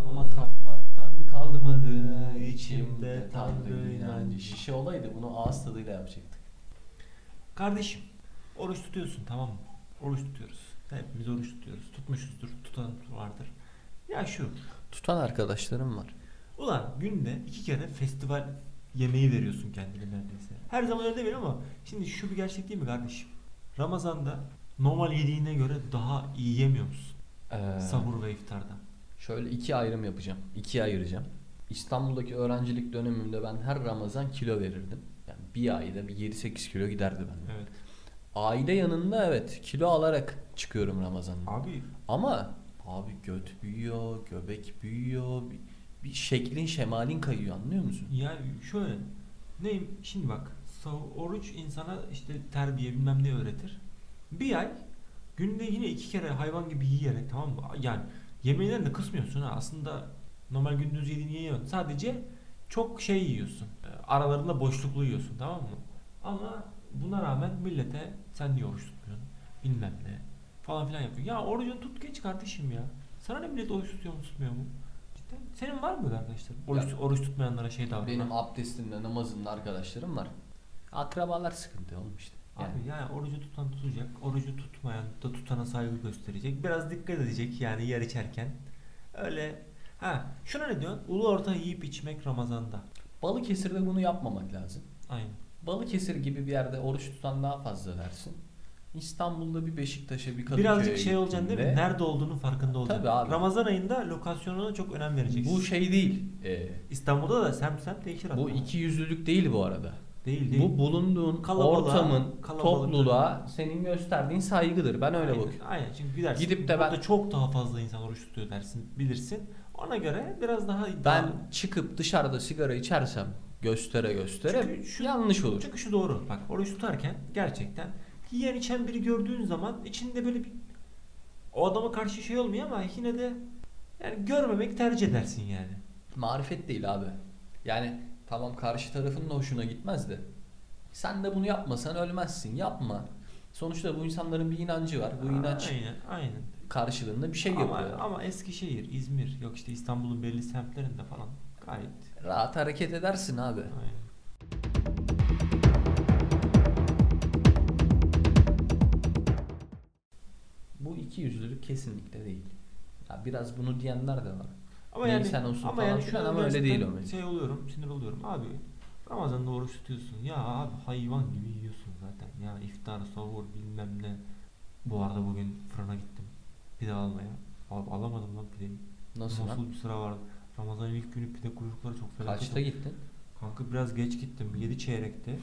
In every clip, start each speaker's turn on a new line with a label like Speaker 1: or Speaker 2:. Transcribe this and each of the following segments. Speaker 1: Ama tapmaktan kalmadı içimde tanrı inancı. Şişe olaydı bunu ağız tadıyla yapacaktık.
Speaker 2: Kardeşim, oruç tutuyorsun tamam mı? Oruç tutuyoruz. Hepimiz oruç tutuyoruz. Tutmuşuzdur, tutan vardır. Ya şu,
Speaker 1: Tutan arkadaşlarım var.
Speaker 2: ulan günde iki kere festival yemeği veriyorsun kendine neredeyse. Her zaman öyle değil ama şimdi şu bir gerçek değil mi kardeşim? Ramazan'da normal yediğine göre daha iyi yemiyor musun?
Speaker 1: Ee,
Speaker 2: Sahur ve iftarda.
Speaker 1: Şöyle iki ayrım yapacağım. İkiye ayıracağım. İstanbul'daki öğrencilik dönemimde ben her Ramazan kilo verirdim. Yani bir ayda bir 7-8 kilo giderdi bende.
Speaker 2: Evet.
Speaker 1: Aile yanında evet kilo alarak çıkıyorum Ramazan'da.
Speaker 2: Abi
Speaker 1: Ama abi göt büyüyor, göbek büyüyor, bir, bir şeklin şemalin kayıyor anlıyor musun?
Speaker 2: Yani şöyle neyim şimdi bak sav- oruç insana işte terbiye bilmem ne öğretir. Bir ay günde yine iki kere hayvan gibi yiyerek tamam mı? Yani yemeğinden de kısmıyorsun ha aslında normal gündüz yediğini yemiyorsun. Sadece çok şey yiyorsun. E, Aralarında boşluklu yiyorsun tamam mı? Ama buna rağmen millete sen niye oruç tutmuyorsun? Bilmem ne falan filan yapıyor. Ya orucunu tut geç kardeşim ya. Sana ne millet oruç tutuyor mu tutmuyor mu? Cidden. Senin var mı böyle arkadaşlar? Oruç, oruç tutmayanlara şey davranan.
Speaker 1: Benim abdestimde, namazımda arkadaşlarım var. Akrabalar sıkıntı oğlum işte. Yani
Speaker 2: Abi yani orucu tutan tutacak, orucu tutmayan da tutana saygı gösterecek. Biraz dikkat edecek yani yer içerken. Öyle. Ha, şuna ne diyorsun? Ulu orta yiyip içmek Ramazan'da.
Speaker 1: Balıkesir'de bunu yapmamak lazım.
Speaker 2: Aynen.
Speaker 1: Balıkesir gibi bir yerde oruç tutan daha fazla versin. İstanbul'da bir Beşiktaş'a bir Kadıköy'e
Speaker 2: Birazcık şey olacaksın değil mi?
Speaker 1: gittiğinde-
Speaker 2: Nerede olduğunun farkında olacaksın.
Speaker 1: Tabii abi.
Speaker 2: Ramazan ayında lokasyonuna çok önem vereceksin.
Speaker 1: Bu şey değil. e,
Speaker 2: İstanbul'da da sem sem değişir
Speaker 1: bu
Speaker 2: hatta.
Speaker 1: iki yüzlülük değil bu arada.
Speaker 2: Değil değil.
Speaker 1: Bu bulunduğun
Speaker 2: Kalabalığa,
Speaker 1: ortamın,
Speaker 2: kalabalıklara.
Speaker 1: topluluğa senin gösterdiğin saygıdır. Ben öyle
Speaker 2: aynen,
Speaker 1: bakıyorum.
Speaker 2: Aynen çünkü gidersin.
Speaker 1: Gidip de ben-
Speaker 2: burada çok daha fazla insan oruç tutuyor dersin, bilirsin. Ona göre biraz daha iddialı.
Speaker 1: Ben çıkıp dışarıda sigara içersem göstere göstere
Speaker 2: Çünkü şu-
Speaker 1: yanlış olur.
Speaker 2: Çünkü şu doğru. Bak oruç tutarken gerçekten yiyen içen biri gördüğün zaman içinde böyle bir o adama karşı şey olmuyor ama yine de yani görmemek tercih edersin yani.
Speaker 1: Marifet değil abi. Yani tamam karşı tarafın da hoşuna gitmez de. Sen de bunu yapmasan ölmezsin. Yapma. Sonuçta bu insanların bir inancı var. Bu inanç
Speaker 2: Aynen, aynen.
Speaker 1: karşılığında bir şey
Speaker 2: ama,
Speaker 1: yapıyor.
Speaker 2: ama Eskişehir, İzmir, yok işte İstanbul'un belli semtlerinde falan gayet.
Speaker 1: Rahat hareket edersin abi.
Speaker 2: Aynen.
Speaker 1: Bu iki yüzlülük kesinlikle değil. Ya biraz bunu diyenler de var.
Speaker 2: Ama
Speaker 1: Neyse,
Speaker 2: yani
Speaker 1: sen olsun
Speaker 2: ama
Speaker 1: falan
Speaker 2: yani
Speaker 1: filan
Speaker 2: şu an
Speaker 1: ama öyle
Speaker 2: gerçekten
Speaker 1: değil o mevzu.
Speaker 2: Şey oluyorum, sinir oluyorum. Abi Ramazan'da oruç tutuyorsun. Ya abi hayvan gibi yiyorsun zaten. Ya iftar, sahur bilmem ne. Bu arada bugün fırına gittim. Pide almaya. Abi alamadım lan pideyi.
Speaker 1: Nasıl lan?
Speaker 2: Nasıl bir sıra vardı. Ramazan'ın ilk günü pide kuyrukları çok felaket.
Speaker 1: Kaçta gittin?
Speaker 2: Kanka biraz geç gittim. 7 çeyrekte.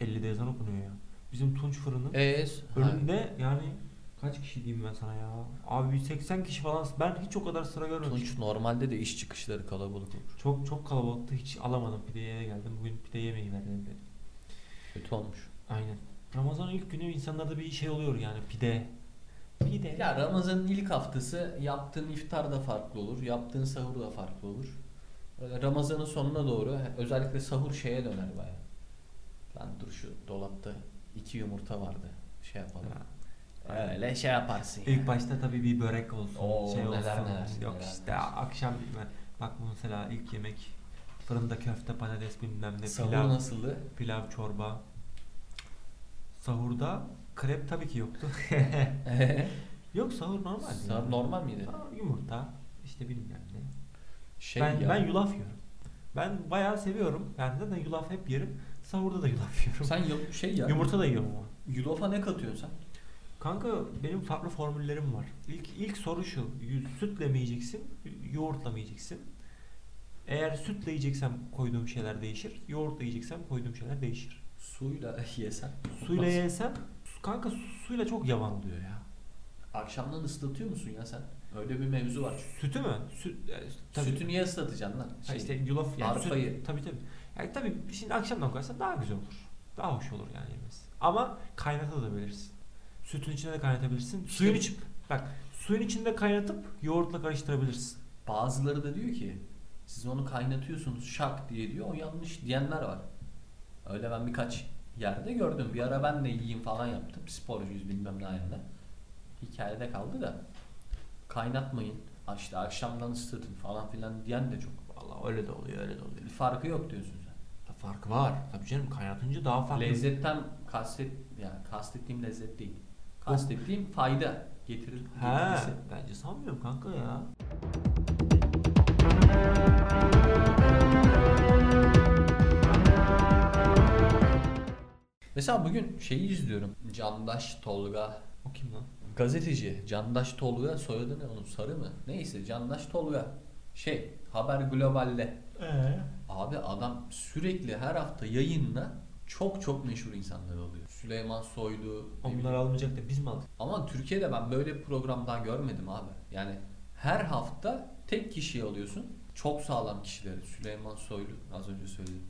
Speaker 2: 50'de ezan okunuyor ya. Bizim Tunç fırının
Speaker 1: Eee?
Speaker 2: önünde yani kaç kişi diyeyim ben sana ya. Abi 80 kişi falan. Ben hiç o kadar sıra görmemiştim.
Speaker 1: Tunç normalde de iş çıkışları kalabalık olur.
Speaker 2: Çok çok kalabalıktı hiç alamadım pideye eve geldim. Bugün pide yemeği verdim dedim.
Speaker 1: Kötü olmuş.
Speaker 2: Aynen. Ramazan'ın ilk günü insanlarda bir şey oluyor yani pide. Pide.
Speaker 1: Ya Ramazan'ın ilk haftası yaptığın iftar da farklı olur, yaptığın sahur da farklı olur. Böyle Ramazan'ın sonuna doğru özellikle sahur şeye döner baya. Lan dur şu dolapta iki yumurta vardı. Şey yapalım.
Speaker 2: Ha.
Speaker 1: Öyle şey yaparsın. ya.
Speaker 2: İlk Ee, başta tabii bir börek olsun.
Speaker 1: Oo,
Speaker 2: şey
Speaker 1: neler
Speaker 2: olsun.
Speaker 1: neler,
Speaker 2: Yok
Speaker 1: neler
Speaker 2: işte
Speaker 1: neler.
Speaker 2: akşam ben- bak bu mesela ilk yemek fırında köfte patates bilmem ne
Speaker 1: Sahur
Speaker 2: pilav,
Speaker 1: nasıldı?
Speaker 2: pilav çorba. Sahurda krep tabii ki yoktu. Yok sahur normal.
Speaker 1: Sahur normal miydi?
Speaker 2: Yumurta işte bilmem ne.
Speaker 1: Şey
Speaker 2: ben,
Speaker 1: ya.
Speaker 2: ben yulaf yiyorum. Ben bayağı seviyorum. Ben zaten yulaf hep yerim. Sahurda da yulaf yiyorum.
Speaker 1: Sen yul- şey ya.
Speaker 2: Yumurta da yiyorum ama.
Speaker 1: Yulafa ne katıyorsun sen?
Speaker 2: Kanka benim farklı formüllerim var. İlk ilk soru şu. Yü- Sütle mi yiyeceksin? Yoğurtla mı yiyeceksin? Eğer sütle yiyeceksem koyduğum şeyler değişir. Yoğurtla yiyeceksem koyduğum şeyler değişir.
Speaker 1: Suyla yesen.
Speaker 2: Suyla
Speaker 1: Olmaz.
Speaker 2: yesem su- kanka su- suyla çok yavan oluyor ya.
Speaker 1: Akşamdan ıslatıyor musun ya sen? Öyle bir mevzu var.
Speaker 2: Sütü mü? Süt, e, tabii.
Speaker 1: Sütü niye ıslatacaksın lan?
Speaker 2: Ha
Speaker 1: Şey,
Speaker 2: işte yulaf yani süt-
Speaker 1: arpayı.
Speaker 2: Tabii tabii. Yani tabii şimdi akşamdan koyarsan daha güzel olur. Daha hoş olur yani yemesi. Ama kaynatabilirsin. Sütün içine de kaynatabilirsin. Suyun içi bak Suyun içinde kaynatıp yoğurtla karıştırabilirsin.
Speaker 1: Bazıları da diyor ki siz onu kaynatıyorsunuz şak diye diyor. O yanlış diyenler var. Öyle ben birkaç yerde gördüm. Bir ara ben de yiyeyim falan yaptım. Sporcuyuz bilmem ne ayağına. Hikayede kaldı da. Kaynatmayın. Ha işte akşamdan ısıtın falan filan diyen de çok.
Speaker 2: Vallahi öyle de oluyor öyle de oluyor.
Speaker 1: Bir farkı yok diyorsun sen.
Speaker 2: Farkı var. Tabii canım kaynatınca daha farklı.
Speaker 1: Lezzetten kastet yani kastettiğim lezzet değil. Kastettiğim fayda getirir.
Speaker 2: He,
Speaker 1: getirisi.
Speaker 2: bence sanmıyorum kanka ya.
Speaker 1: Mesela bugün şeyi izliyorum. Candaş Tolga
Speaker 2: O kim lan?
Speaker 1: Gazeteci Candaş Tolga soyadı ne onun sarı mı? Neyse Candaş Tolga şey Haber Global'de
Speaker 2: Ee?
Speaker 1: abi adam sürekli her hafta yayınla çok çok meşhur insanlar alıyor. Süleyman Soylu ne
Speaker 2: Onlar
Speaker 1: bileyim.
Speaker 2: almayacak da biz mi aldık?
Speaker 1: ama Türkiye'de ben böyle bir program daha görmedim abi. Yani her hafta tek kişiyi alıyorsun. Çok sağlam kişileri. Süleyman Soylu az önce söyledim.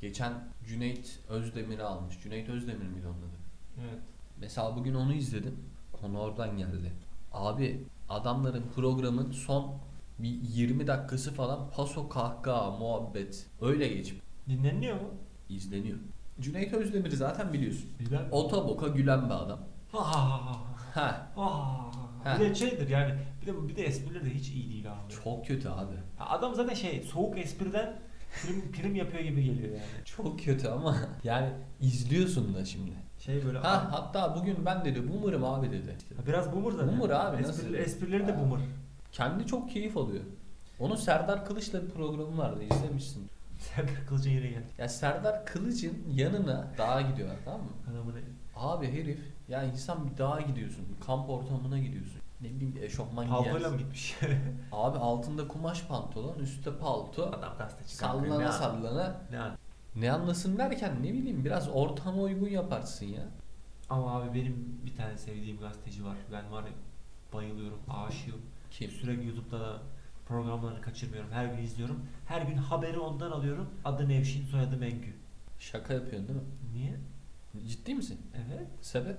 Speaker 1: Geçen Cüneyt Özdemir'i almış. Cüneyt Özdemir miydi onun adı?
Speaker 2: Evet.
Speaker 1: Mesela bugün onu izledim. Konu oradan geldi. Abi adamların programın son bir 20 dakikası falan paso kahkaha muhabbet öyle geçip
Speaker 2: Dinleniyor mu?
Speaker 1: izleniyor. Cüneyt Özdemir'i zaten biliyorsun.
Speaker 2: Bilen.
Speaker 1: Ota boka gülen bir adam.
Speaker 2: Ha ha ha ha.
Speaker 1: Ha
Speaker 2: Ah,
Speaker 1: Ha.
Speaker 2: Bir de şeydir yani bir de bir de esprileri de hiç iyi değil abi.
Speaker 1: çok kötü abi.
Speaker 2: Ha, Adam zaten şey soğuk espriden prim, prim yapıyor gibi geliyor yani.
Speaker 1: Çok kötü ama yani izliyorsun da şimdi.
Speaker 2: Şey böyle
Speaker 1: Ha hatta bugün ben dedi boomer'ım abi dedi.
Speaker 2: Ha, biraz boomer zaten.
Speaker 1: Boomer abi,
Speaker 2: Espri-
Speaker 1: nasıl?
Speaker 2: Esprileri de
Speaker 1: Ha.
Speaker 2: boomer.
Speaker 1: Kendi çok keyif alıyor. Onun Serdar Kılıç'la bir programı vardı izlemişsin.
Speaker 2: Serdar Kılıç'a yine geldi.
Speaker 1: Ya Serdar Kılıç'ın yanına dağa gidiyorlar tamam mı?
Speaker 2: Adamı ne?
Speaker 1: Abi herif ya insan bir dağa gidiyorsun, bir kamp ortamına gidiyorsun. Ne bileyim bir eşofman
Speaker 2: Paltoyla mı
Speaker 1: giyersin.
Speaker 2: gitmiş?
Speaker 1: Abi altında kumaş pantolon, üstte palto.
Speaker 2: Adam gazeteci. kanka, ne
Speaker 1: Sallana
Speaker 2: an-
Speaker 1: sallana.
Speaker 2: Ne an-
Speaker 1: Ne anlasın derken ne bileyim biraz ortama uygun yaparsın ya.
Speaker 2: Ama abi benim bir tane sevdiğim gazeteci var. Ben var ya bayılıyorum, aşığım.
Speaker 1: Kim?
Speaker 2: Sürekli YouTube'da da programlarını kaçırmıyorum. Her gün izliyorum. Her gün haberi ondan alıyorum. Adı Nevşin, soyadı Mengü.
Speaker 1: Şaka yapıyorsun değil mi?
Speaker 2: Niye?
Speaker 1: Ciddi misin?
Speaker 2: Evet.
Speaker 1: Sebep?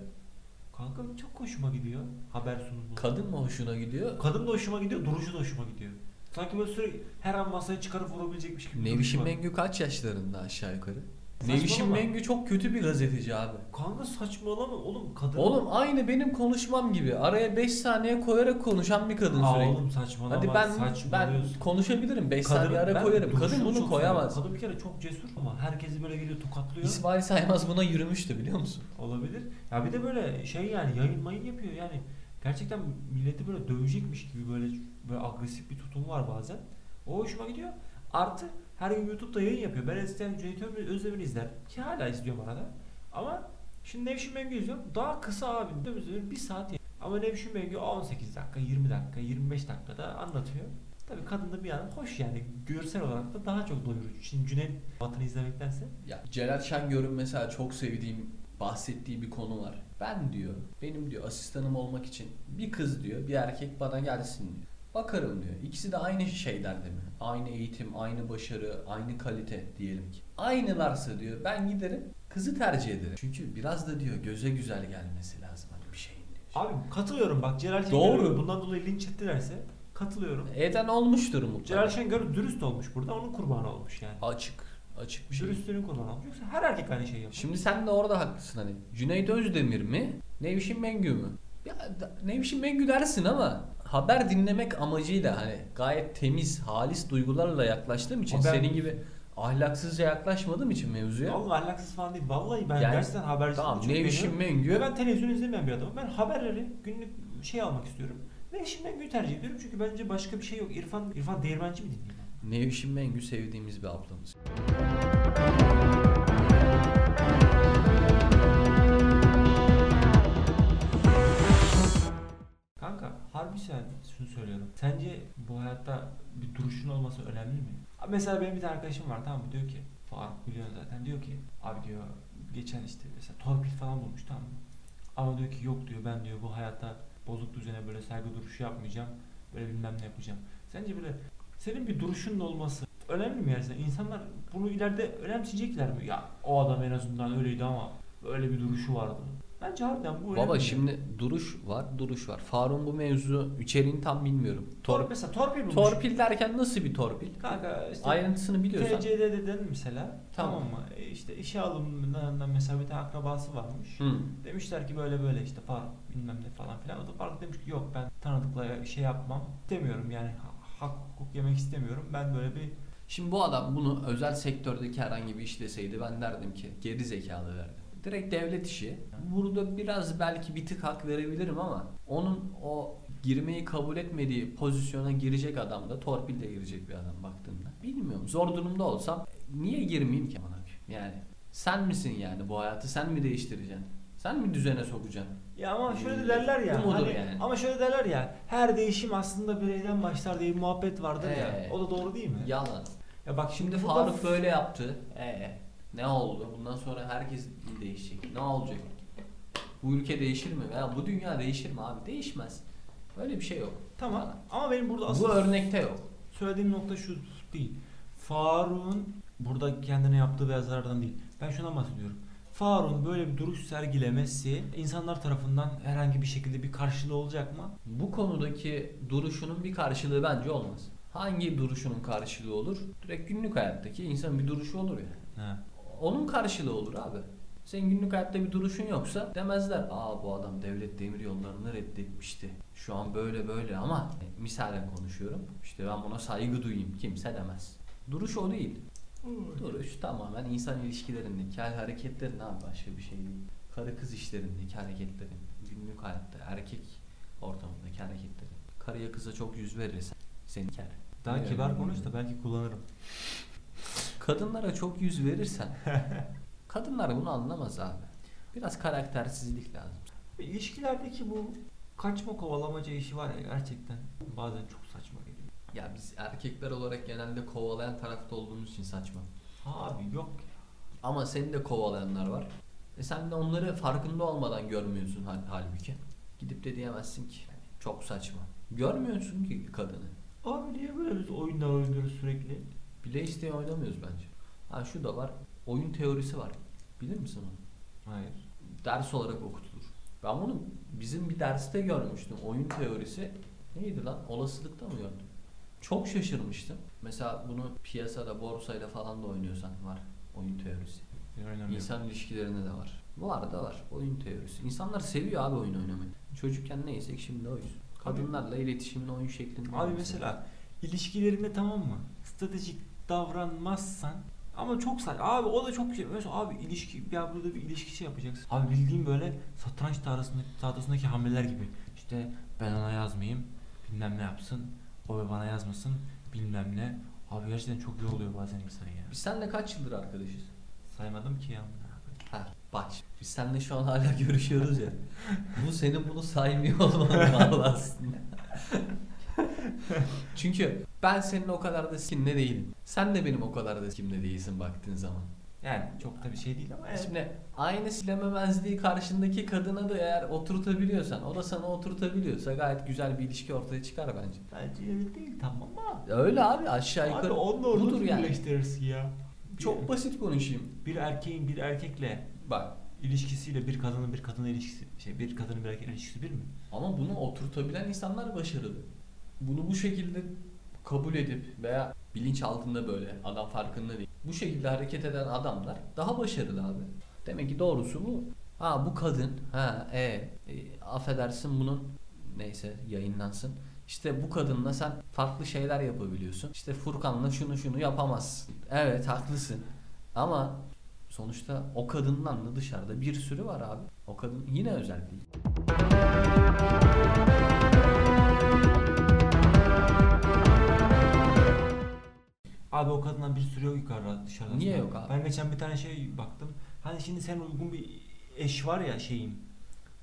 Speaker 2: Kanka çok hoşuma gidiyor. Haber sunumu.
Speaker 1: Kadın mı hoşuna gidiyor?
Speaker 2: Kadın da hoşuma gidiyor, duruşu da hoşuma gidiyor. Sanki böyle sürekli her an masaya çıkarıp vurabilecekmiş gibi. bir duruşu
Speaker 1: Nevşin
Speaker 2: var.
Speaker 1: Mengü kaç yaşlarında aşağı yukarı?
Speaker 2: Saçmalama.
Speaker 1: Nevşin Mengü çok kötü bir gazeteci abi.
Speaker 2: Kanka saçmalama oğlum kadın.
Speaker 1: Oğlum aynı benim konuşmam gibi. Araya 5 saniye koyarak konuşan bir kadın
Speaker 2: Aa,
Speaker 1: sürekli.
Speaker 2: oğlum saçmalama.
Speaker 1: Hadi ben ben
Speaker 2: saçmalıyorsun.
Speaker 1: konuşabilirim. 5
Speaker 2: Kadın-
Speaker 1: saniye ara
Speaker 2: ben
Speaker 1: koyarım.
Speaker 2: duruşunu
Speaker 1: Kadın bunu
Speaker 2: çok
Speaker 1: koyamaz.
Speaker 2: seviyorum. Kadın bir kere çok cesur ama herkesi böyle geliyor tokatlıyor.
Speaker 1: İsmail Saymaz buna yürümüştü biliyor musun?
Speaker 2: Olabilir. Ya bir de böyle şey yani yayın mayın yapıyor yani. Gerçekten milleti böyle dövecekmiş gibi böyle böyle agresif bir tutum var bazen. O hoşuma gidiyor. Artı her gün YouTube'da yayın yapıyor. Ben eskiden Cüneyt Özdemir- Özdemir'i izler. Ki hala izliyorum arada. Ama şimdi Nevşin Mengü izliyorum. Daha kısa abi. Cüneyt Özdemir bir saat yayın. Ama Nevşin Mengü 18 dakika, 20 dakika, 25 dakikada anlatıyor. Tabii kadın da bir yandan hoş yani. Görsel olarak da daha çok doyurucu. Şimdi Cüneyt Batı'nı izlemektense.
Speaker 1: Ya Celal Şengör'ün mesela çok sevdiğim bahsettiği bir konu var. Ben diyor, benim diyor asistanım olmak için bir kız diyor, bir erkek bana gelsin diyor. Bakarım diyor. İkisi de aynı şeyler değil mi? Aynı eğitim, aynı başarı, aynı kalite diyelim ki. Aynılarsa diyor ben giderim kızı tercih ederim. Çünkü biraz da diyor göze güzel gelmesi lazım hani bir şeyin diyor.
Speaker 2: Abi katılıyorum bak Celal Şengör'ü
Speaker 1: Doğru.
Speaker 2: bundan dolayı linç ettilerse katılıyorum.
Speaker 1: Eden olmuştur
Speaker 2: Celal
Speaker 1: mutlaka.
Speaker 2: Şengör dürüst olmuş burada onun kurbanı olmuş yani.
Speaker 1: Açık, açık bir şey.
Speaker 2: Dürüstlüğünün kurbanı olmuş. Yoksa her erkek aynı şeyi yapıyor.
Speaker 1: Şimdi sen de orada haklısın hani. Cüneyt Özdemir mi? Nevşin Mengü mü? Ya da- Nevşin Mengü dersin ama haber dinlemek amacıyla hani gayet temiz, halis duygularla yaklaştığım için
Speaker 2: Haber-
Speaker 1: senin gibi ahlaksızca yaklaşmadığım için mevzuya.
Speaker 2: Vallahi ahlaksız falan değil. Vallahi ben
Speaker 1: Yani-
Speaker 2: gerçekten habercisi
Speaker 1: Tamam
Speaker 2: çok
Speaker 1: Nevşin
Speaker 2: beğeniyorum.
Speaker 1: Mengü
Speaker 2: Ve ben televizyon izlemeyen bir adamım. Ben haberleri günlük şey almak istiyorum. Nevşin Mengü'yü tercih ediyorum çünkü bence başka bir şey yok. İrfan, İrfan Değirmenci mi dinleyeyim ben?
Speaker 1: Nevşin Mengü sevdiğimiz bir ablamız.
Speaker 2: Kanka harbi sen şunu söylüyorum. Sence bu hayatta bir duruşun olması önemli mi? Abi Mesela benim bir tane arkadaşım var tamam mı? Diyor ki Faruk biliyorsun zaten diyor ki abi diyor geçen işte mesela torpil falan bulmuş tamam mı? Ama diyor ki yok diyor ben diyor bu hayatta bozuk düzene böyle saygı duruşu yapmayacağım. Böyle bilmem ne yapacağım. Sence böyle senin bir duruşun olması önemli mi yani? İnsanlar bunu ileride önemseyecekler mi? Ya o adam en azından öyleydi ama böyle bir duruşu vardı. Bence harbiden bu
Speaker 1: Baba
Speaker 2: önemli.
Speaker 1: şimdi duruş var, duruş var. Faruk'un bu mevzu içeriğini tam bilmiyorum.
Speaker 2: Tor
Speaker 1: Tor
Speaker 2: mesela torpil bulmuş.
Speaker 1: torpil derken nasıl bir torpil?
Speaker 2: Kanka işte
Speaker 1: Ayrıntısını biliyorsan.
Speaker 2: TCD'den mesela tamam,
Speaker 1: Tamam.
Speaker 2: mı? E işte işe alımından mesela bir tane akrabası varmış.
Speaker 1: Hı.
Speaker 2: Demişler ki böyle böyle işte park bilmem ne falan filan. O da park demiş ki yok ben tanıdıkla şey yapmam. istemiyorum yani ha- hak hukuk yemek istemiyorum. Ben böyle bir
Speaker 1: Şimdi bu adam bunu özel sektördeki herhangi bir iş deseydi ben derdim ki geri zekalı derdim. Direkt devlet işi. Burada biraz belki bir tık hak verebilirim ama onun o girmeyi kabul etmediği pozisyona girecek adam da torpille girecek bir adam baktığında. Bilmiyorum zor durumda olsam niye girmeyeyim ki bana? Yani sen misin yani bu hayatı sen mi değiştireceksin? Sen mi düzene sokacaksın?
Speaker 2: Ya ama şöyle de
Speaker 1: Hmm.
Speaker 2: derler ya.
Speaker 1: Bu mudur
Speaker 2: hani-
Speaker 1: yani?
Speaker 2: Ama şöyle derler ya. Her değişim aslında bireyden başlar diye bir muhabbet vardır
Speaker 1: Ee.
Speaker 2: ya. O da doğru değil mi? Ya,
Speaker 1: Yalan.
Speaker 2: bak
Speaker 1: Şimdi
Speaker 2: şimdi burada
Speaker 1: Faruk böyle yaptı. Ee, ne oldu? Bundan sonra herkes değişecek. Ne olacak? Bu ülke değişir mi? Ya bu dünya değişir mi abi? Değişmez. Böyle bir şey yok.
Speaker 2: Tamam. Ama benim burada asıl
Speaker 1: Bu örnekte yok.
Speaker 2: söylediğim nokta şu değil. Faruk'un burada kendine yaptığı beyazlardan değil. Ben şuna bahsediyorum. Faruk'un böyle bir duruş sergilemesi insanlar tarafından herhangi bir şekilde bir karşılığı olacak mı?
Speaker 1: Bu konudaki duruşunun bir karşılığı bence olmaz. Hangi duruşunun karşılığı olur? Direkt günlük hayattaki insanın bir duruşu olur ya.
Speaker 2: He.
Speaker 1: Onun karşılığı olur abi. Senin günlük hayatta bir duruşun yoksa demezler. Aa bu adam devlet demir yollarını reddetmişti. Şu an böyle böyle ama misalen konuşuyorum. İşte ben buna saygı duyayım. Kimse demez. Duruş o değil. Duruş tamamen insan ilişkilerindeki hal hareketlerinden başka bir şey değil. Karı kız işlerindeki hareketlerin, günlük hayatta erkek ortamındaki hareketlerin. Karıya kıza çok yüz verirsen seni ker.
Speaker 2: Daha
Speaker 1: Evet.
Speaker 2: kibar konuş da belki kullanırım.
Speaker 1: Kadınlara çok yüz verirsen kadınlar bunu anlamaz abi. Biraz karaktersizlik lazım.
Speaker 2: İlişkilerdeki bu kaçma kovalamaca işi var ya gerçekten bazen çok saçma geliyor.
Speaker 1: Ya biz erkekler olarak genelde kovalayan tarafta olduğumuz için saçma.
Speaker 2: Abi yok.
Speaker 1: Ama senin de kovalayanlar var. E sen de onları farkında olmadan görmüyorsun hal- halbuki. Gidip de diyemezsin ki. Çok saçma. Görmüyorsun ki kadını.
Speaker 2: Abi niye böyle biz oyunlar oynuyoruz sürekli?
Speaker 1: Bile isteye oynamıyoruz bence. Ha şu da var. Oyun teorisi var. Bilir misin onu?
Speaker 2: Hayır.
Speaker 1: ders olarak okutulur. Ben bunu bizim bir derste görmüştüm. Oyun teorisi neydi lan? Olasılıkta mı gördüm? Çok şaşırmıştım. Mesela bunu piyasada, borsayla falan da oynuyorsan var oyun teorisi. İnsan ilişkilerinde de var. Bu arada var oyun teorisi. İnsanlar seviyor abi oyun oynamayı. Çocukken neysek şimdi oyuz. Kadınlarla iletişimin oyun şeklinde.
Speaker 2: Abi
Speaker 1: olması.
Speaker 2: mesela ilişkilerinde tamam mı? Stratejik davranmazsan ama çok saç. Abi o da çok şey. Mesela abi ilişki ya burada bir ilişki şey yapacaksın. Abi bildiğin böyle satranç tahtasındaki, tahtasındaki hamleler gibi. İşte ben ona yazmayayım. Bilmem ne yapsın. O bana yazmasın. Bilmem ne. Abi gerçekten çok iyi oluyor bazen insan ya.
Speaker 1: Biz seninle kaç yıldır arkadaşız?
Speaker 2: Saymadım ki ya. amına koyayım.
Speaker 1: Ha bak biz seninle şu an hala görüşüyoruz ya. Bu senin bunu saymıyor olman bağlı aslında. Çünkü ben senin o kadar da kimle değilim. Sen de benim o kadar da kimle değilsin baktığın zaman.
Speaker 2: Yani çok da bir şey değil ama. yani.
Speaker 1: Şimdi aynı silememezliği karşındaki kadına da eğer oturtabiliyorsan, o da sana oturtabiliyorsa gayet güzel bir ilişki ortaya çıkar bence.
Speaker 2: Bence öyle değil tamam ama.
Speaker 1: Öyle abi aşağı
Speaker 2: Abi
Speaker 1: yukarı
Speaker 2: onunla
Speaker 1: budur
Speaker 2: onu
Speaker 1: yani.
Speaker 2: birleştirirsin ya.
Speaker 1: Çok
Speaker 2: Çok
Speaker 1: basit konuşayım.
Speaker 2: bir erkeğin bir erkekle
Speaker 1: Bak
Speaker 2: ilişkisiyle bir kadının bir kadının ilişkisi şey bir kadının bir erkeğin ilişkisi bir mi?
Speaker 1: Ama bunu oturtabilen insanlar başarılı. Bunu bu şekilde kabul edip veya bilinç altında böyle adam farkında değil. Bu şekilde hareket eden adamlar daha başarılı abi. Demek ki doğrusu bu. Ha bu kadın ha e, e affedersin bunun neyse yayınlansın. İşte bu kadınla sen farklı şeyler yapabiliyorsun. İşte Furkan'la şunu şunu yapamazsın. Evet haklısın. Ama sonuçta o kadından da dışarıda bir sürü var abi. O kadın yine özel değil.
Speaker 2: Abi o kadından bir sürü yok yukarıda dışarıda.
Speaker 1: Niye yok abi?
Speaker 2: Ben geçen bir tane şey baktım. Hani şimdi sen uygun bir eş var ya şeyin.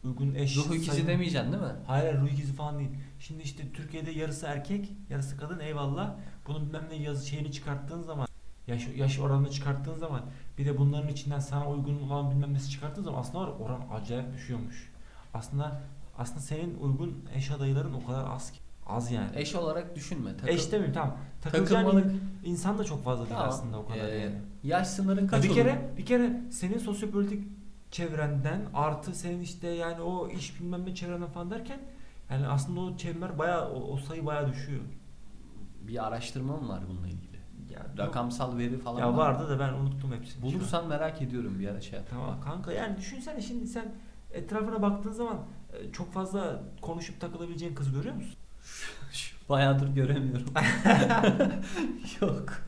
Speaker 2: Uygun eş.
Speaker 1: Ruh ikizi
Speaker 2: sayın-
Speaker 1: demeyeceksin değil mi?
Speaker 2: Hayır hayır, ruh ikizi falan değil. Şimdi işte Türkiye'de yarısı erkek, yarısı kadın eyvallah. Bunun bilmem ne yazı şeyini çıkarttığın zaman yaş, yaş oranını çıkarttığın zaman bir de bunların içinden sana uygun olan bilmem nesi çıkarttığın zaman aslında var ya, oran acayip düşüyormuş. Aslında aslında senin uygun eş adayların o kadar az ki. Az yani.
Speaker 1: Eş olarak düşünme. E, Takıl,
Speaker 2: eş demeyeyim tamam. Takılacağın
Speaker 1: takılmalık.
Speaker 2: insan da çok fazla değil
Speaker 1: Tamam.
Speaker 2: aslında o kadar
Speaker 1: Ee,
Speaker 2: yani.
Speaker 1: Yaş sınırın
Speaker 2: Ya
Speaker 1: kaç
Speaker 2: bir
Speaker 1: olur?
Speaker 2: kere bir kere senin sosyopolitik çevrenden artı senin işte yani o iş bilmem ne çevrenden falan derken yani aslında o çember bayağı o, o sayı bayağı düşüyor.
Speaker 1: Bir araştırmam var bununla ilgili.
Speaker 2: Ya,
Speaker 1: Rakamsal veri falan
Speaker 2: ya
Speaker 1: var.
Speaker 2: vardı da ben unuttum hepsini. şu an.
Speaker 1: Bulursan merak ediyorum bir ara şey yap.
Speaker 2: Tamam kanka yani düşünsene şimdi sen etrafına baktığın zaman e, çok fazla konuşup takılabileceğin kız görüyor musun?
Speaker 1: Bayağıdır göremiyorum. Yok.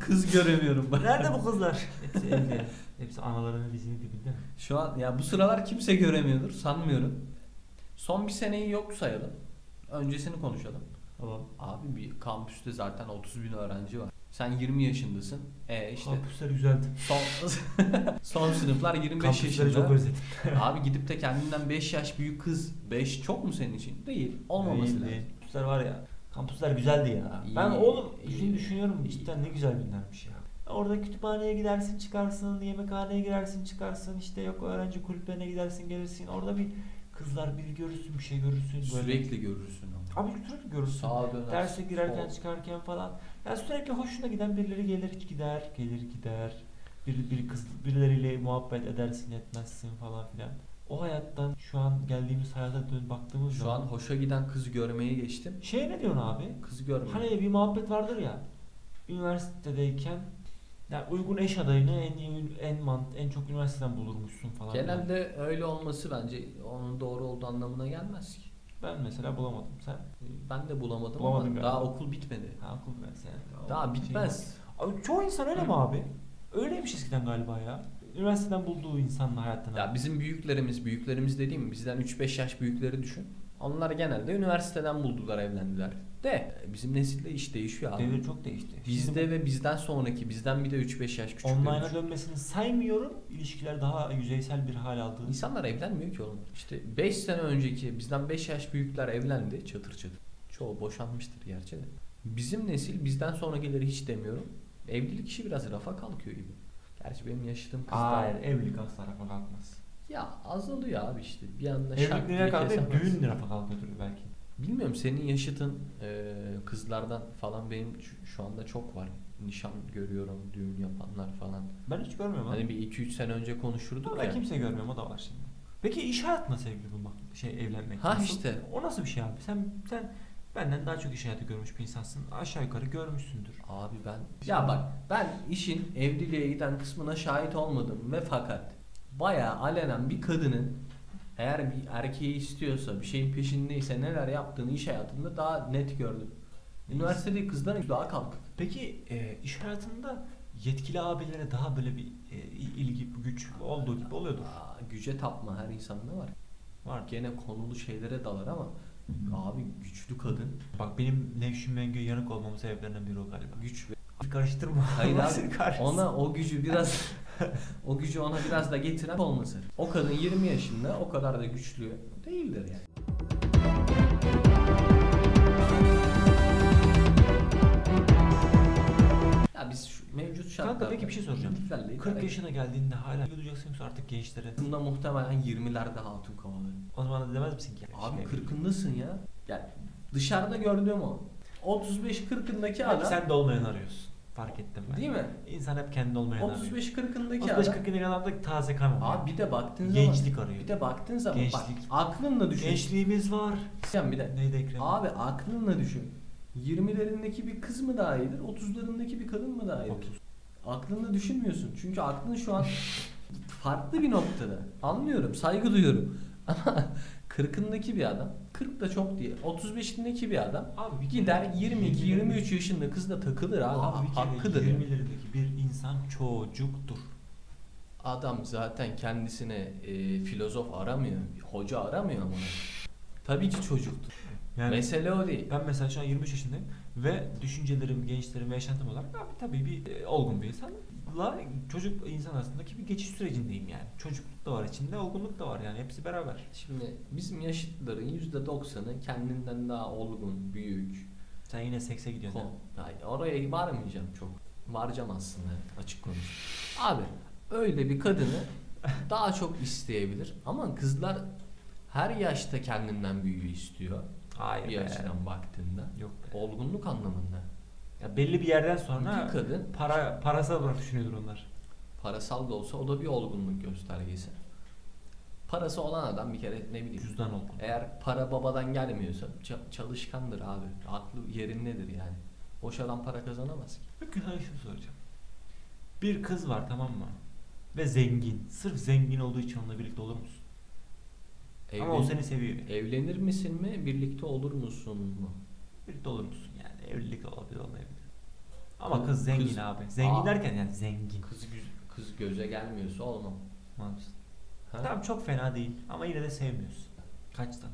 Speaker 1: Kız göremiyorum ben.
Speaker 2: Nerede bu kızlar? Hepsi evde. Hepsi anaların dizinin dibinde.
Speaker 1: Şu an ya bu sıralar kimse göremiyordur sanmıyorum. Son bir seneyi yok sayalım. Öncesini konuşalım.
Speaker 2: Tamam.
Speaker 1: Abi bir kampüste zaten 30 bin öğrenci var. Sen 20 yaşındasın. E işte
Speaker 2: Kampüsler güzeldi.
Speaker 1: son, son sınıflar 25
Speaker 2: Kampüsleri çok
Speaker 1: yaşında.
Speaker 2: özledim.
Speaker 1: Abi gidip de kendinden 5 yaş büyük kız. 5 çok mu senin için? Değil. Olmaması
Speaker 2: Değil,
Speaker 1: lazım.
Speaker 2: değil. Kampüsler var ya. Kampüsler güzeldi ya.
Speaker 1: İyi,
Speaker 2: ben oğlum
Speaker 1: iyi.
Speaker 2: şimdi düşünüyorum
Speaker 1: İyi.
Speaker 2: cidden ne güzel günlermiş ya. Orada kütüphaneye gidersin çıkarsın, yemekhaneye girersin çıkarsın, işte yok öğrenci kulüplerine gidersin gelirsin. Orada bir kızlar bir görürsün bir şey görürsün.
Speaker 1: Sürekli görürsün ama.
Speaker 2: Abi sürekli görürsün.
Speaker 1: Sağa döner.
Speaker 2: Derse girerken
Speaker 1: sol.
Speaker 2: çıkarken falan. Ya sürekli hoşuna giden birileri gelir gider, gelir gider. Bir, bir kız, birileriyle muhabbet edersin etmezsin falan filan. O hayattan şu an geldiğimiz hayata dön baktığımız
Speaker 1: Şu an
Speaker 2: zaman.
Speaker 1: hoşa giden kız görmeye geçtim.
Speaker 2: Şey ne diyorsun abi?
Speaker 1: Kız görmeye.
Speaker 2: Hani bir muhabbet vardır ya. Üniversitedeyken ya uygun eş adayını en iyi- en mant en çok üniversiteden bulurmuşsun falan. filan.
Speaker 1: Genelde öyle olması bence onun doğru olduğu anlamına gelmez ki.
Speaker 2: Ben mesela bulamadım sen.
Speaker 1: Ben de bulamadım
Speaker 2: Bulamadın
Speaker 1: ama
Speaker 2: galiba.
Speaker 1: daha okul bitmedi.
Speaker 2: Ha okul ben sen.
Speaker 1: Daha bitmez.
Speaker 2: Abi çoğu insan öyle mi
Speaker 1: Hı.
Speaker 2: abi? Öyleymiş eskiden galiba ya. Üniversiteden bulduğu insanla hayattan.
Speaker 1: Ya bizim büyüklerimiz, büyüklerimiz dediğim bizden 3-5 yaş büyükleri düşün. Onlar genelde üniversiteden buldular, evlendiler. De bizim nesilde iş değişiyor abi.
Speaker 2: devir çok değişti.
Speaker 1: Bizde
Speaker 2: Şimdi
Speaker 1: ve bizden sonraki, bizden bir de 3-5 yaş küçükleri
Speaker 2: online'a
Speaker 1: düşün.
Speaker 2: dönmesini saymıyorum. İlişkiler daha yüzeysel bir hal aldı.
Speaker 1: İnsanlar evlenmiyor ki oğlum. İşte 5 sene önceki bizden 5 yaş büyükler evlendi çatır çatır. Çoğu boşanmıştır gerçi de. Bizim nesil bizden sonrakileri hiç demiyorum. Evlilik işi biraz rafa kalkıyor gibi. Gerçi benim yaşadığım kızlar
Speaker 2: Hayır, evlilik asla rafa kalkmaz.
Speaker 1: ya azalıyor abi işte bir anda şak
Speaker 2: Evlilik
Speaker 1: diye
Speaker 2: nereye kalkıyor?
Speaker 1: kesemezsin.
Speaker 2: Düğün rafa kalkıyordur belki.
Speaker 1: Bilmiyorum senin yaşıtın e, kızlardan falan benim şu, şu anda çok var. Nişan görüyorum, düğün yapanlar falan.
Speaker 2: Ben hiç görmüyorum abi.
Speaker 1: Hani bir 2-3 sene önce konuşurduk
Speaker 2: Ama
Speaker 1: ya.
Speaker 2: Ben kimse görmüyorum o da var şimdi. Peki iş hayatına sevgili bulmak, şey evlenmek
Speaker 1: Ha
Speaker 2: nasıl?
Speaker 1: işte.
Speaker 2: O nasıl bir şey abi? Sen sen benden daha çok iş hayatı görmüş bir insansın. Aşağı yukarı görmüşsündür.
Speaker 1: Abi ben ya bak ben işin evliliğe giden kısmına şahit olmadım ve fakat bayağı alenen bir kadının eğer bir erkeği istiyorsa bir şeyin peşindeyse neler yaptığını iş hayatında daha net gördüm. Üniversitedeki kızların daha kalkık.
Speaker 2: Peki e, iş hayatında yetkili abilere daha böyle bir e, ilgi, güç olduğu gibi oluyordur.
Speaker 1: Aa, güce tapma her insanda var.
Speaker 2: Var.
Speaker 1: Gene konulu şeylere dalar ama abi güçlü kadın,
Speaker 2: Bak benim Nevşin Mengü'ye yanık olmamın sebeplerinden biri o galiba.
Speaker 1: güç ve
Speaker 2: Karıştırma.
Speaker 1: Hayır abi,
Speaker 2: Allah seni kahretsin.
Speaker 1: ona o gücü biraz o gücü ona biraz da getiren olması. O kadın 20 yaşında o kadar da güçlü değildir yani. Ya biz şu, mevcut şartlarda...
Speaker 2: Kanka peki bir şey soracağım.
Speaker 1: güzelliği
Speaker 2: 40
Speaker 1: tercih-
Speaker 2: yaşına geldiğinde hala ilgi duyacaksın yoksa artık gençlere.
Speaker 1: Bunda muhtemelen 20'lerde hatun kovaları.
Speaker 2: O zaman da demez misin ki?
Speaker 1: Abi
Speaker 2: Şey,
Speaker 1: 40'ındasın ya. Yani dışarıda gördüğüm o. 35-40'ındaki
Speaker 2: Hep
Speaker 1: adam
Speaker 2: sen de olmayanı arıyorsun. Fark ettim ben.
Speaker 1: değil mi?
Speaker 2: İnsan hep kendi olmayanı arıyor.
Speaker 1: 35-40'ındaki adam.
Speaker 2: 35-40 yıllık adamda taze kan arıyor.
Speaker 1: Abi bir de baktığın zaman
Speaker 2: Gençlik arıyor.
Speaker 1: bir de baktığın zaman bak
Speaker 2: Gençlik.
Speaker 1: aklınla düşün.
Speaker 2: Gençliğimiz var.
Speaker 1: Sen bir de
Speaker 2: Neydi Ekrem?
Speaker 1: abi aklınla düşün. 20'lerindeki bir kız mı daha iyidir? 30'larındaki bir kadın mı daha iyidir?
Speaker 2: Otuz.
Speaker 1: Aklınla düşünmüyorsun. Çünkü aklın şu an farklı bir noktada. Anlıyorum, saygı duyuyorum. Ama 40'ındaki bir adam, 40 da çok diye 35'indeki bir adam
Speaker 2: Abi bir
Speaker 1: gider
Speaker 2: kere
Speaker 1: 22
Speaker 2: yirmi-
Speaker 1: 23 yaşında kızla takılır abi.
Speaker 2: Abi bir kere
Speaker 1: Hakkıdır. yani.
Speaker 2: 20'lerindeki bir insan çocuktur.
Speaker 1: Adam zaten kendisine e, filozof aramıyor, hoca aramıyor ama. Tabii ki çocuktur.
Speaker 2: Yani
Speaker 1: Mesele o değil.
Speaker 2: ben mesela şu an 23 yaşındayım ve düşüncelerim, gençlerim ve yaşantım olarak abi tabii bir e, olgun bir insanla çocuk insan arasındaki bir geçiş sürecindeyim yani. Çocukluk da var içinde, olgunluk da var yani hepsi beraber.
Speaker 1: Şimdi bizim yaşıtların %90'ı kendinden daha olgun, büyük.
Speaker 2: Sen yine sekse gidiyorsun.
Speaker 1: Kon- Hayır, oraya varmayacağım çok. Varacağım aslında açık konuş. Abi öyle bir kadını daha çok isteyebilir ama kızlar her yaşta kendinden büyüğü istiyor
Speaker 2: Hayır
Speaker 1: bir
Speaker 2: be.
Speaker 1: açıdan baktığında.
Speaker 2: Yok be.
Speaker 1: Olgunluk anlamında.
Speaker 2: Ya belli bir yerden
Speaker 1: Çünkü
Speaker 2: sonra
Speaker 1: kadın
Speaker 2: para parasal olarak düşünüyordur onlar.
Speaker 1: Parasal da olsa o da bir olgunluk göstergesi. Parası olan adam bir kere ne bileyim
Speaker 2: Cüzdan olgun.
Speaker 1: eğer para babadan gelmiyorsa ça- çalışkandır abi. Aklı yerindedir yani. Boş adam para kazanamaz ki.
Speaker 2: Peki sana şunu soracağım. Bir kız var tamam mı? Ve zengin. Sırf zengin olduğu için onunla birlikte olur musun? Ama o
Speaker 1: Evlen-
Speaker 2: seni seviyor.
Speaker 1: Evlenir misin mi? Birlikte olur musun mu?
Speaker 2: Birlikte olur musun yani? Evlilik olabilir olmayabilir. Ama
Speaker 1: Kız-
Speaker 2: kız zengin
Speaker 1: kız-
Speaker 2: abi. Zengin
Speaker 1: Aa.
Speaker 2: derken yani zengin.
Speaker 1: Kız gü- kız göze gelmiyorsa olmam.
Speaker 2: Mantıksız.
Speaker 1: Ha?
Speaker 2: Tamam çok fena değil ama yine de sevmiyorsun. Kaçtan?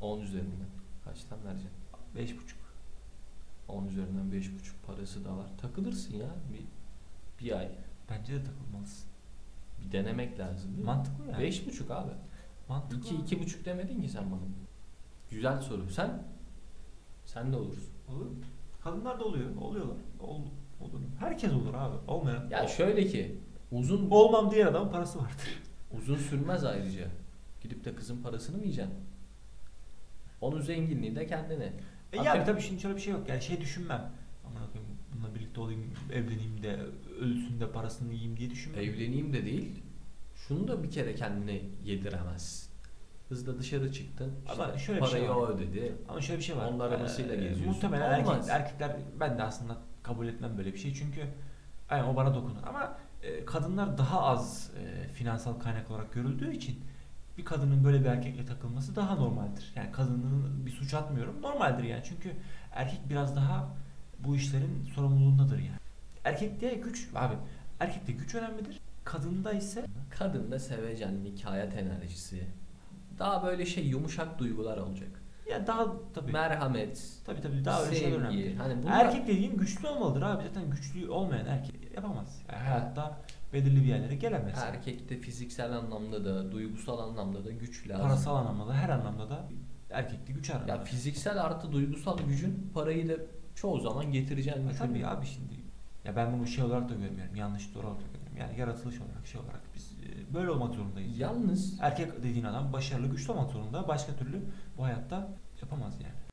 Speaker 1: 10 üzerinden. Kaçtan vereceksin?
Speaker 2: Beş buçuk.
Speaker 1: 10 üzerinden 5,5 parası da var. Takılırsın ya bir, bir ay.
Speaker 2: Bence de takılmalısın.
Speaker 1: Bir denemek lazım değil mi?
Speaker 2: Mantıklı yani.
Speaker 1: 5,5 abi.
Speaker 2: Mantıklı.
Speaker 1: 2 iki, 2,5 demedin ki sen bana. Güzel soru. Sen? Sen de olursun.
Speaker 2: Olur mu? Kadınlar da oluyor. Oluyorlar. Ol, olur. Herkes olur abi. Olmayan.
Speaker 1: Ya şöyle ki uzun
Speaker 2: Olmam diyen adamın parası vardır.
Speaker 1: uzun sürmez ayrıca. Gidip de kızın parasını mı yiyeceksin? Onun zenginliği de kendine.
Speaker 2: E
Speaker 1: Abi-
Speaker 2: yani tabii şimdi şöyle bir şey yok. Yani şey düşünmem. Aman koyayım bununla birlikte olayım, evleneyim de ölsün de parasını yiyeyim diye düşünmem.
Speaker 1: Evleneyim de değil. Şunu da bir kere kendine yediremez. Hızla dışarı çıktın.
Speaker 2: Ama
Speaker 1: işte
Speaker 2: şöyle bir şey
Speaker 1: parayı
Speaker 2: var.
Speaker 1: o ödedi.
Speaker 2: Ama şöyle bir şey var.
Speaker 1: Onun arabasıyla geziyorsun.
Speaker 2: Muhtemelen erkek-
Speaker 1: Olmaz.
Speaker 2: erkekler ben de aslında kabul etmem böyle bir şey. Çünkü yani o bana dokunur. Ama e, kadınlar daha az e, finansal kaynak olarak görüldüğü için bir kadının böyle bir erkekle takılması daha normaldir. Yani kadının bir suç atmıyorum. Normaldir yani. Çünkü erkek biraz daha bu işlerin sorumluluğundadır yani. Erkekte güç abi erkekte güç önemlidir. Kadında ise
Speaker 1: Kadın da sevecenlik, hayat enerjisi. Daha böyle şey yumuşak duygular olacak.
Speaker 2: ya daha tabii
Speaker 1: Merhamet,
Speaker 2: tabii tabii daha öyle şeyler önemli.
Speaker 1: sevgi. Hani bunlar
Speaker 2: Erkek dediğin güçlü olmalıdır abi. Zaten güçlü olmayan erkek yapamaz. Yani
Speaker 1: Ha.
Speaker 2: hayatta belirli bir yerlere gelemez.
Speaker 1: erkekte fiziksel anlamda da, duygusal anlamda da güç lazım.
Speaker 2: Parasal anlamda da her anlamda da erkekte güç arar.
Speaker 1: Ya fiziksel artı duygusal gücün parayı da çoğu zaman getireceğini
Speaker 2: Ha, E, tabii
Speaker 1: düşünüyorum.
Speaker 2: abi şimdi ya ben bunu şey olarak da görmüyorum. Yanlış doğru olarak da görmüyorum. Yani yaratılış olarak şey olarak biz e, böyle olmak zorundayız.
Speaker 1: Yalnız
Speaker 2: Erkek dediğin adam başarılı, güçlü olmak zorunda. Başka türlü bu hayatta yapamaz yani.